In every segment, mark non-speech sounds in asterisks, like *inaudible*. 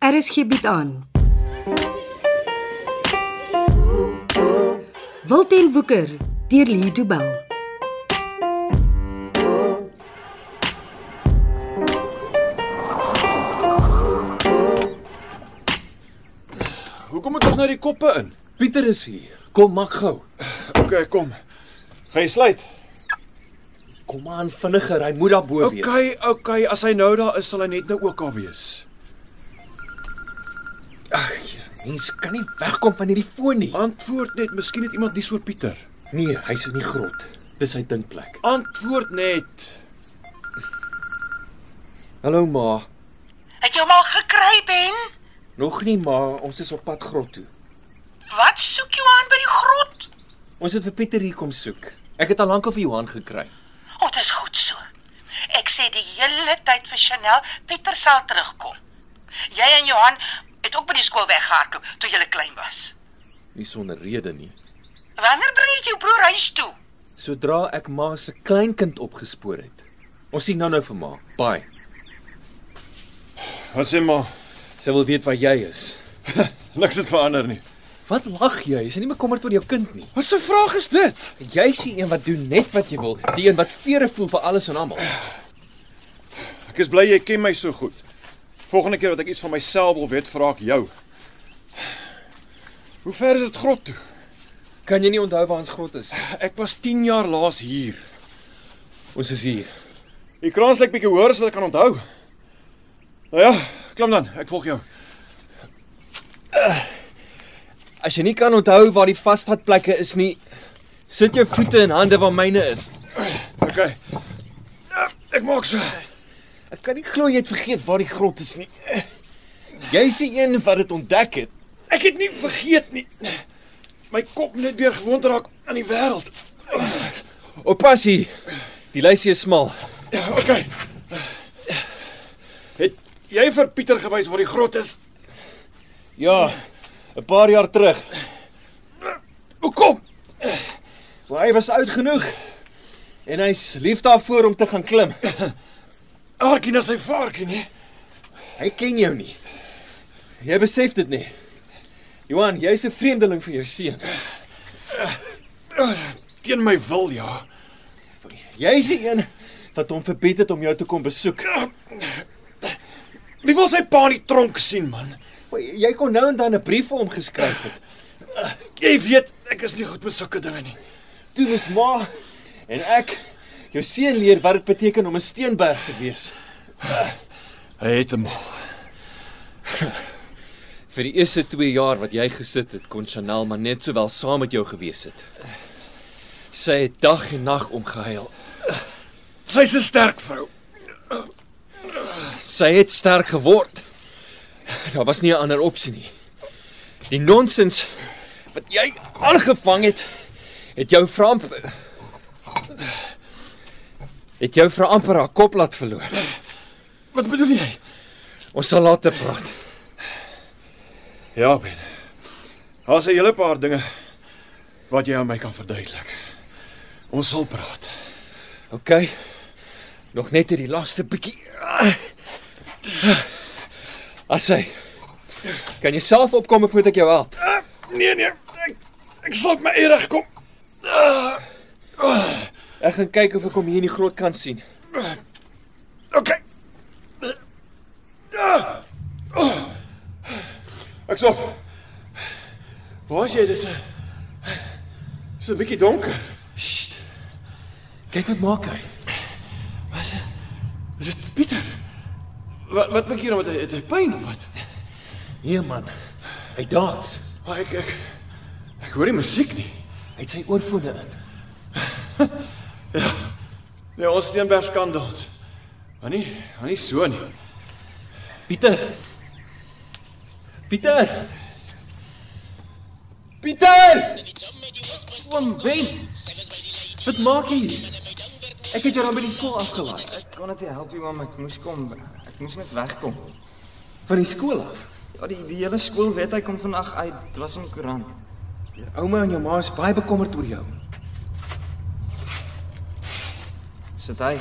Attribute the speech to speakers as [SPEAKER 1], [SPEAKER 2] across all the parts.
[SPEAKER 1] RSG bied Er aan. Wild en Woeker deur Lee Du Bell.
[SPEAKER 2] Hoekom moet ons nou die koppe in?
[SPEAKER 3] Pieter is hier. Kom maak gou.
[SPEAKER 2] OK, kom. Gaan jy sluit?
[SPEAKER 3] Kom aan vinniger, hy moet daar bo
[SPEAKER 2] OK, OK, as hy nou daar is, sal hy net nou ook al wees.
[SPEAKER 3] Mens kan nie wegkom van hierdie foon nie.
[SPEAKER 2] Antwoord net, miskien het iemand nie so Pieter.
[SPEAKER 3] Nee, hy's in die grot. Dis sy dingplek.
[SPEAKER 2] Antwoord net.
[SPEAKER 3] Hallo ma.
[SPEAKER 4] Het jy hom al gekry, Ben?
[SPEAKER 3] Nog nie ma, ons is op pad grot toe.
[SPEAKER 4] Wat soek jy aan by die grot?
[SPEAKER 3] Ons het vir Pieter hier kom soek. Ek het al lank al vir Johan gekry.
[SPEAKER 4] O, dit is goed so. Ek sê die hele tyd vir Chanel, Pieter sal terugkom. Jy en Johan het ook by die skool weggehardloop toe jy klein was.
[SPEAKER 3] Nie sonder rede nie.
[SPEAKER 4] Wanneer bring ek jou broer huis toe?
[SPEAKER 3] Sodra ek ma se kleinkind opgespoor het. Ons sien nou-nou vir ma. Bye.
[SPEAKER 2] Wat sê maar,
[SPEAKER 3] Sy wil weet waar jy is.
[SPEAKER 2] niks het verander nie.
[SPEAKER 3] Wat lag jy? Is jy nie bekommerd oor jou kind nie?
[SPEAKER 2] Wat 'n vraag is dit?
[SPEAKER 3] Jy's die een wat doen net wat jy wil, die een wat vere voel vir alles en almal.
[SPEAKER 2] Ek is bly jy ken my so goed. Volgende keer wat ek iets van myself wil weet, vra ek jou. Hoe ver is dit grot toe?
[SPEAKER 3] Kan jy nie onthou waar ons grot is?
[SPEAKER 2] Ek was 10 jaar laas hier.
[SPEAKER 3] Ons is hier.
[SPEAKER 2] Die kraans lyk bietjie hoër as wat ek kan onthou. Nou ja, klim dan, ek volg jou.
[SPEAKER 3] As jy nie kan onthou waar die vasvatplekke is nie, sit jou voete en hande waar myne is.
[SPEAKER 2] OK. eh, Ek maak so.
[SPEAKER 3] Ek kan nie glo jy het vergeet waar die grot is nie. Jy's die een wat dit ontdek het.
[SPEAKER 2] Ek het nie vergeet nie. My kop moet net weer gewoond raak aan die wêreld.
[SPEAKER 3] Oppasie. Die lysie is smal.
[SPEAKER 2] Ja, okay. Het jy vir Pieter gewys waar die grot is?
[SPEAKER 3] Ja, 'n paar jaar terug.
[SPEAKER 2] Hoekom?
[SPEAKER 3] Maar hy was oud genoeg en hy's lief daarvoor om te gaan klim.
[SPEAKER 2] Aartjie na sy varkie, nee.
[SPEAKER 3] Hy ken jou nie. Jy besef dit nie. Johan, jy's 'n vreemdeling vir jou seun.
[SPEAKER 2] Teen my wil, ja.
[SPEAKER 3] Jy's die een wat hom verbied het om jou te kom besoek.
[SPEAKER 2] Wie wil sy pa in die tronk sien, man?
[SPEAKER 3] Maar Jy kon nou en dan 'n brief vir hom geskryf het.
[SPEAKER 2] Jy weet, ek is nie goed met sulke dinge nie.
[SPEAKER 3] Toe was ma en ek jou seun leer wat dit beteken om 'n steenberg te wees.
[SPEAKER 2] Hy het hom.
[SPEAKER 3] Vir die eerste 2 jaar wat jy gesit het, kon Chanel maar net sowel saam met jou gewees het. Sy het dag en nag omgehuil.
[SPEAKER 2] Sy's 'n sterk vrou.
[SPEAKER 3] Sy het sterk geword. Daar was nie 'n ander opsie nie. Die nonsens wat jy aangevang het, het jou vra amper het jou vra amper haar kop laat verloor.
[SPEAKER 2] Wat bedoel jy?
[SPEAKER 3] Ons sal later praat.
[SPEAKER 2] Ja, Ben. Daar's 'n hele paar dinge wat jy aan my kan verduidelik. Ons sal praat.
[SPEAKER 3] OK. Nog net hierdie laaste bietjie. As hy kan jy self opkom of moet ek jou help?
[SPEAKER 2] Ah, nee nee, ek ek sal op my eie Ah, reg kom.
[SPEAKER 3] Ek gaan kyk of ek hom hier in die grot kan sien.
[SPEAKER 2] OK. Ah. Oh. Ek sop. Waar is jy dis? Dis 'n bietjie donker.
[SPEAKER 3] Kyk wat maak hy.
[SPEAKER 2] Is dit Pieter? Wat wat maak hier nou met hy het hy pyn of wat?
[SPEAKER 3] Nee man. Hy dans.
[SPEAKER 2] Maar ek ek ek hoor nie musiek nie.
[SPEAKER 3] Hy het sy oorfone in.
[SPEAKER 2] Nee, ons Steenberg skande ons. Maar nie, maar nie so nie.
[SPEAKER 3] Pieter. Pieter. Pieter! Oom Ben. Wat maak jy hier? Ek het jou dan by die skool afgelaai.
[SPEAKER 5] Ek kon dit nie help nie, oom, ek moes kom. Ek moes net wegkom.
[SPEAKER 3] Van die skool af.
[SPEAKER 5] Ja, die, die hele skool weet hy kom vandag uit. Dit was in die koerant.
[SPEAKER 3] Ouma en jou ma is baie bekommerd oor jou.
[SPEAKER 5] Sit hy.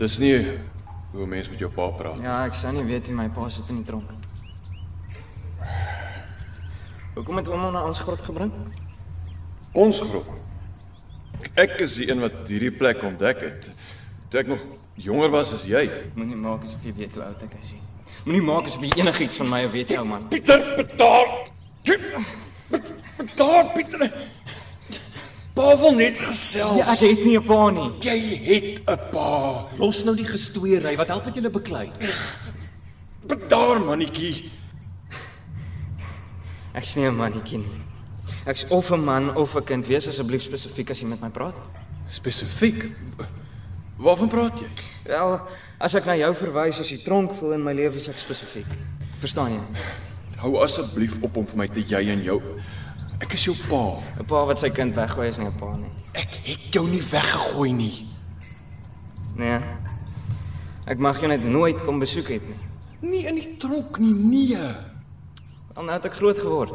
[SPEAKER 2] Dis nie hoe mense met jou pa praat.
[SPEAKER 5] Ja, ek sou nie weet nie, my pa sit in die tronk. Hoekom het ouma na ons grot gebring?
[SPEAKER 2] Ons groep. Ek is die een wat hierdie plek ontdek het. Toe ek nog jonger was as jy.
[SPEAKER 5] Moenie maak asof jy weet hoe oud ek is nie. Moenie maak asof jy enigiets van my weet, ou man.
[SPEAKER 2] Pieter betaal. Betaal Pieter. Pavel net gesels.
[SPEAKER 5] Ja, ek het nie 'n pa nie.
[SPEAKER 2] Jy het 'n pa.
[SPEAKER 3] Los nou die gestoeiery. Wat help dit julle beklei?
[SPEAKER 2] Bedaar mannetjie.
[SPEAKER 5] Ek's nie 'n mannetjie nie. Ek's of 'n man of 'n kind. Wees asseblief spesifiek as jy met my praat.
[SPEAKER 2] Spesifiek. Waarvan praat jy?
[SPEAKER 5] Wel, as ek na jou verwys as die tronkvol in my lewe is ek spesifiek. Verstaan jy?
[SPEAKER 2] Hou asseblief op om vir my te jy en jou. Ek is jou pa.
[SPEAKER 5] 'n Pa wat sy kind weggooi is nie 'n pa nie.
[SPEAKER 2] Ek het jou nie weggegooi nie.
[SPEAKER 5] Nee. Ek mag jou net nooit kom besoek het nie.
[SPEAKER 2] Nie in die tronk nie, nee.
[SPEAKER 5] Al nou het ek groot geword.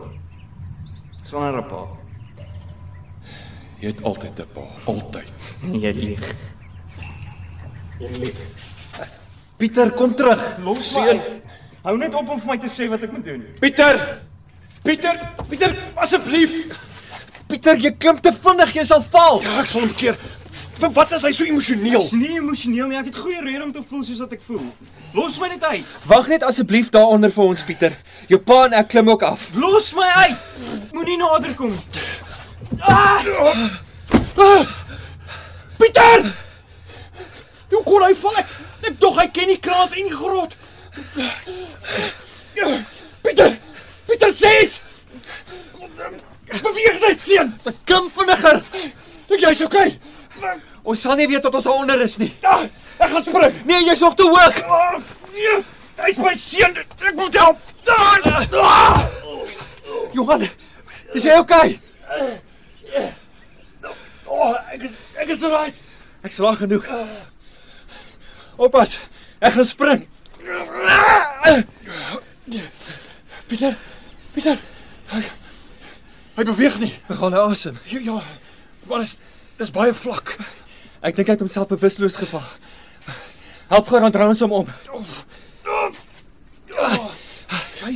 [SPEAKER 5] Sonder 'n pa.
[SPEAKER 2] Jy het altyd 'n pa, altyd.
[SPEAKER 5] Nee, *laughs* Jy lieg.
[SPEAKER 3] Pieter, kom terug. Los seun.
[SPEAKER 5] Hou net op om vir my te sê wat ek moet doen.
[SPEAKER 2] Pieter! Pieter, Pieter, asseblief.
[SPEAKER 3] Pieter, jy klim te vinnig, jy sal val.
[SPEAKER 2] Ja, ek sal hom keer. Vir wat is hy so emosioneel?
[SPEAKER 5] Ek's nie emosioneel nie. Ek het goeie rede om te voel soos wat ek voel. Los my net uit.
[SPEAKER 3] Wag net asseblief daaronder vir ons Pieter. Jou pa en ek klim ook af.
[SPEAKER 5] Los my uit. Moenie nader kom.
[SPEAKER 2] Pieter! Hoe kon hy val? Ek, ek dog hy ken die kraans en die grot. Pieter! Pieter sê iets. Beweeg net seun.
[SPEAKER 3] Wat klim vinniger.
[SPEAKER 2] Dink jy's okay?
[SPEAKER 3] Ons sal nie weet tot ons onder is nie.
[SPEAKER 2] Ah, Ek gaan spring.
[SPEAKER 3] Nee, jy's nog te hoog.
[SPEAKER 2] Ah, nee, Hy's my seun. Ek moet help. Daar! Ah!
[SPEAKER 3] Johan, is jy okay?
[SPEAKER 2] Oh, ek is ek is reg.
[SPEAKER 3] Ek slaag genoeg. Oppas. Ek gaan spring.
[SPEAKER 2] Ah. Pieter. Pieter. Hy, hy beweeg nie.
[SPEAKER 3] Haal asem.
[SPEAKER 2] Ja, ja. Maar is dis baie vlak.
[SPEAKER 3] Ek dink hy het homself bewusteloos geval. Help gou dan rond hom om.
[SPEAKER 2] ja, Hy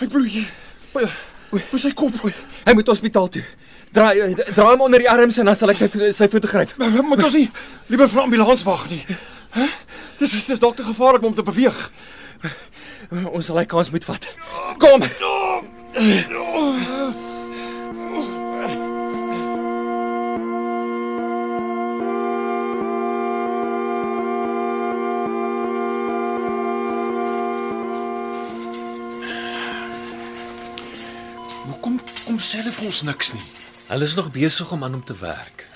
[SPEAKER 2] hy bloei hier. By- By sy kop.
[SPEAKER 3] Hy moet hospitaal toe. Draai eh, draai hom onder die arms en dan sal ek sy vo- sy voete gryp.
[SPEAKER 2] Maar moet ons nie liewer vir 'n ambulans wag nie. Hæ? Dis is dis dokter gevaarlik om te beweeg.
[SPEAKER 3] Ons sal hy kans moet vat. Kom.
[SPEAKER 2] Hoekom kom sê hulle vir ons niks nie?
[SPEAKER 6] Hulle is nog besig om aan hom te werk.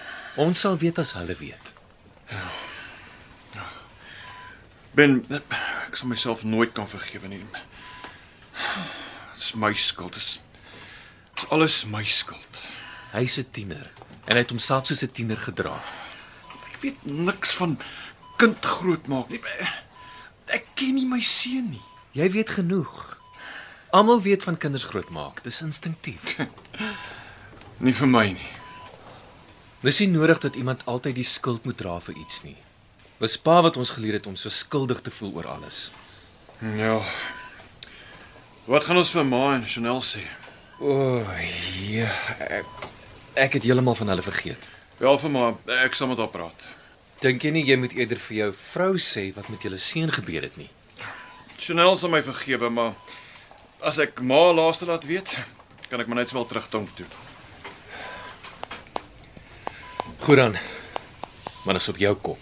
[SPEAKER 6] Ons sal weet as hulle weet.
[SPEAKER 2] Ben, ek sal myself nooit kan vergewe nie. Dit is my skuld. Dit is, dit is alles my skuld.
[SPEAKER 6] Hy's 'n tiener en hy het homself soos 'n tiener gedra.
[SPEAKER 2] Ek weet niks van kind grootmaak nie. Ek ken nie my seun nie.
[SPEAKER 6] Jy weet genoeg. Almal weet van kinders grootmaak, dis instinktief.
[SPEAKER 2] Nie vir my nie.
[SPEAKER 6] Dis nie nodig dat iemand altyd die skuld moet dra vir iets nie. Dis pa wat ons geleer het om so skuldig te voel oor alles.
[SPEAKER 2] Ja. Wat gaan ons vir Ma en Chanel sê?
[SPEAKER 6] O, ja, ek, ek het heeltemal van hulle vergeet.
[SPEAKER 2] Wel vir Ma, ek sal met haar praat.
[SPEAKER 6] Dink jy nie jy moet eerder vir jou vrou sê wat met julle seun gebeur het nie?
[SPEAKER 2] Chanel sal my vergewe, maar as ek Ma laaste laat weet, kan ek maar net sowel terugtonk toe.
[SPEAKER 6] Goed dan. Maar dis op jou kop.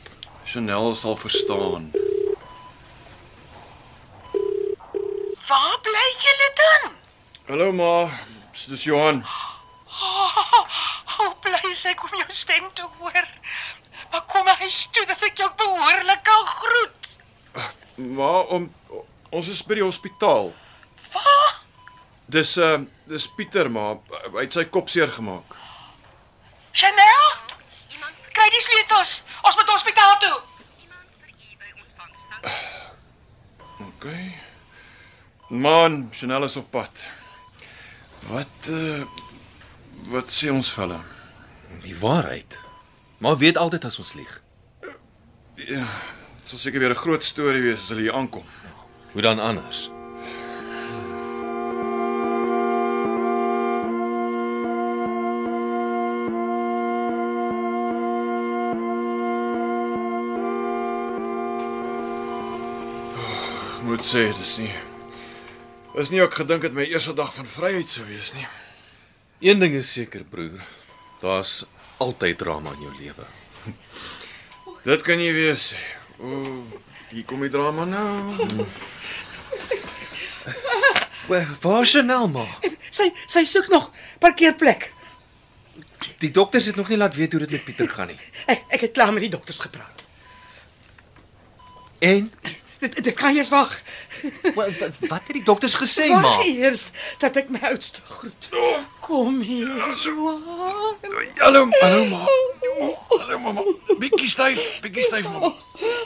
[SPEAKER 2] Chanel sal verstaan.
[SPEAKER 4] Waar bly julle dan? *laughs*
[SPEAKER 2] Hallo Ma, dis Johan.
[SPEAKER 4] Hoe bly sy kom jou stem te hoor? Maar kom huis toe dat ek jou behoorlik kan groet.
[SPEAKER 2] Maar om ons is by die hospitaal.
[SPEAKER 4] Waar?
[SPEAKER 2] Dis ehm uh, dis Pieter maar hy het sy kop seer gemaak.
[SPEAKER 4] Chanel? Kry die sleutels. Ons moet hospitaal toe.
[SPEAKER 2] OK. Man, Chanel is op pad. Wat uh, wat sê ons vir hulle?
[SPEAKER 6] Die waarheid. Maar weet altyd as ons lieg.
[SPEAKER 2] Ja, dit sal seker weer 'n groot storie wees as hulle hier aankom.
[SPEAKER 6] Hoe dan anders?
[SPEAKER 2] Ek moet sê dis nie. Dis nie ook gedink het my eerste dag van vryheid sou wees nie.
[SPEAKER 6] Een ding is seker, broer. Daar's altyd drama in jou lewe.
[SPEAKER 2] Dit kan jy weer sê. O, hier kom die drama nou.
[SPEAKER 6] Waar is Chanel ma?
[SPEAKER 4] Sy sy soek nog parkeerplek.
[SPEAKER 6] Die dokters het nog nie laat weet hoe dit met Pieter gaan nie.
[SPEAKER 4] Ek ek het klaar met die dokters gepraat.
[SPEAKER 6] En
[SPEAKER 4] Dit dit kan eers wag.
[SPEAKER 6] wa- wa- wat het die dokters gesê, ma?
[SPEAKER 4] Wag eers dat ek my oudste groet. Kom hier, Joa.
[SPEAKER 2] Hallo, hallo ma. Hallo mamma. Bietjie styf, bietjie styf mamma.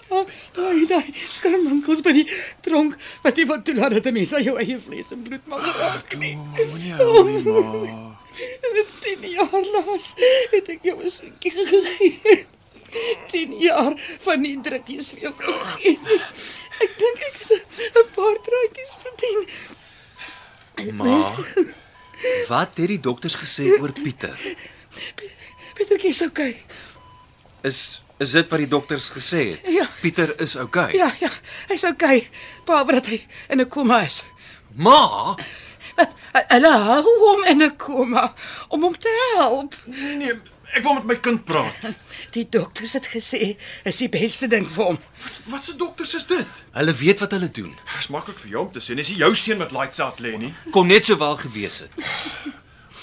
[SPEAKER 4] Oh, Daai daai skermwinkels by die tronk wat jy wil toelaat dat 'n mens aan jou eie vlees en bloed mag raak.
[SPEAKER 2] Ah, Toe mamma moenie huil nie ma.
[SPEAKER 4] *laughs* 10 jaar laas het ek jou 'n soetjie gegee. 10 jaar van die drukkies vir jou gegee. Ek dink ek het 'n paar truitjies verdien.
[SPEAKER 6] Ma. Wat het die dokters gesê oor Pieter?
[SPEAKER 4] Pietertjie is okay.
[SPEAKER 6] Is is dit wat die dokters gesê het?
[SPEAKER 4] Ja.
[SPEAKER 6] Pieter is okay.
[SPEAKER 4] Ja, ja, hy's okay. Behalwe dat hy in 'n koma is.
[SPEAKER 6] Ma,
[SPEAKER 4] Wat hulle hou hom in 'n koma om hom te help.
[SPEAKER 2] Nee nee, ek wil met my kind praat.
[SPEAKER 4] Die dokters het gesê is die beste ding vir hom.
[SPEAKER 2] Wat wat se dokters is dit?
[SPEAKER 6] hulle weet wat hulle doen.
[SPEAKER 2] Dis Ja, maklik vir jou om te sê. Dis nie jou seun wat lights out lê nie.
[SPEAKER 6] Kon net sowel gewees het.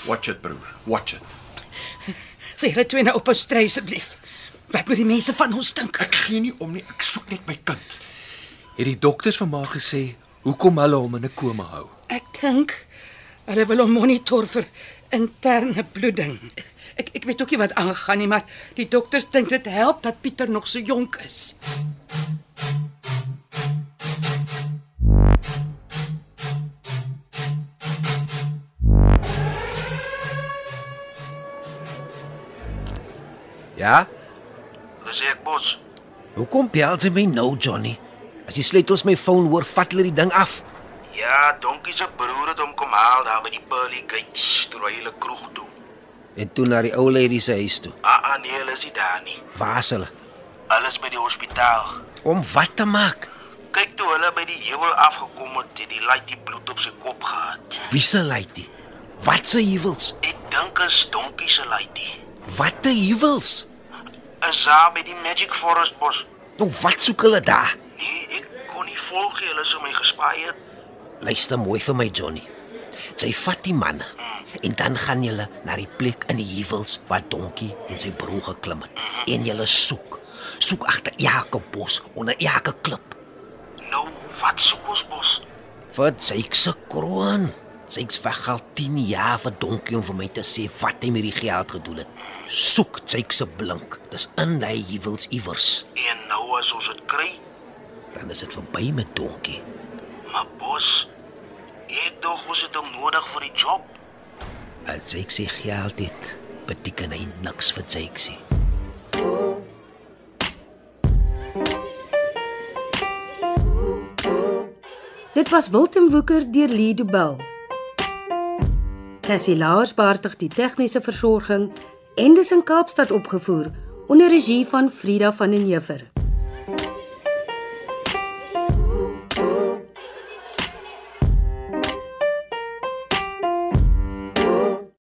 [SPEAKER 2] Watch it broer, watch it.
[SPEAKER 4] Sê hulle twee nou op 'n stry asseblief. Wat moet die mense van ons dink?
[SPEAKER 2] Ek gee nie om nie. Ek soek net my kind.
[SPEAKER 6] Het die dokters vir ma gesê hoekom hulle hom in 'n koma hou?
[SPEAKER 4] Ek dink hulle wil hom monitor vir interne bloeding. Ek ek weet ook nie wat aangaan nie, maar die dokters dink dit help dat Pieter nog so jonk is.
[SPEAKER 7] Ja?
[SPEAKER 8] Dis ek bos.
[SPEAKER 7] Hoekom bel jy my nou, Johnny? As jy sleutels my foon hoor, vat hulle die ding af.
[SPEAKER 8] Ja, Donkie se broer het hom kom haal daar by die Pearly Gates, toe hy hulle kroeg toe.
[SPEAKER 7] En toe na die ou lady se huis toe.
[SPEAKER 8] Ah, ah nee, hulle is nie daar nie.
[SPEAKER 7] Waar is hulle?
[SPEAKER 8] Hulle is by die hospitaal.
[SPEAKER 7] Om wat te maak?
[SPEAKER 8] Kyk toe hulle by die heuwel afgekom het, het die laat die bloed op sy kop gehad.
[SPEAKER 7] Wie se lady? Wat se huwels?
[SPEAKER 8] Ek dink is Donkie se laaitjie.
[SPEAKER 7] Wat te huwels?
[SPEAKER 8] Is daar by die Magic Forest bos.
[SPEAKER 7] Nou wat soek hulle daar?
[SPEAKER 8] Nee, ek kon nie volg nie, hulle sou my gespaai het.
[SPEAKER 7] Luister mooi vir my, Johnny. Jy vat die manne en dan gaan julle na die plek in die heuwels waar Donkie en sy broer geklim het. Uh-huh. En julle soek. Soek agter elke bos, onder elke klip.
[SPEAKER 8] Nou, wat soek ons bos?
[SPEAKER 7] Vir Jake se kroon. Jake's weg al 10 jaar vir donkie om vir my te sê wat hy met die geld gedoen het. Soek Jake se blink. Dis in hy heuwels iewers.
[SPEAKER 8] En nou as ons dit kry,
[SPEAKER 7] Dan is dit verby met donkie.
[SPEAKER 8] maar bos, ek dink ons het hom nodig vir die job.
[SPEAKER 7] As Jake se geld het, beteken hy niks vir Jake se.
[SPEAKER 1] Dit was Wilten Woeker deur Lee Du Bell. Cassie Lars beheerdig die tegniese versorging en dis in Kaapstad opgevoer onder regie van Frida van den Heever.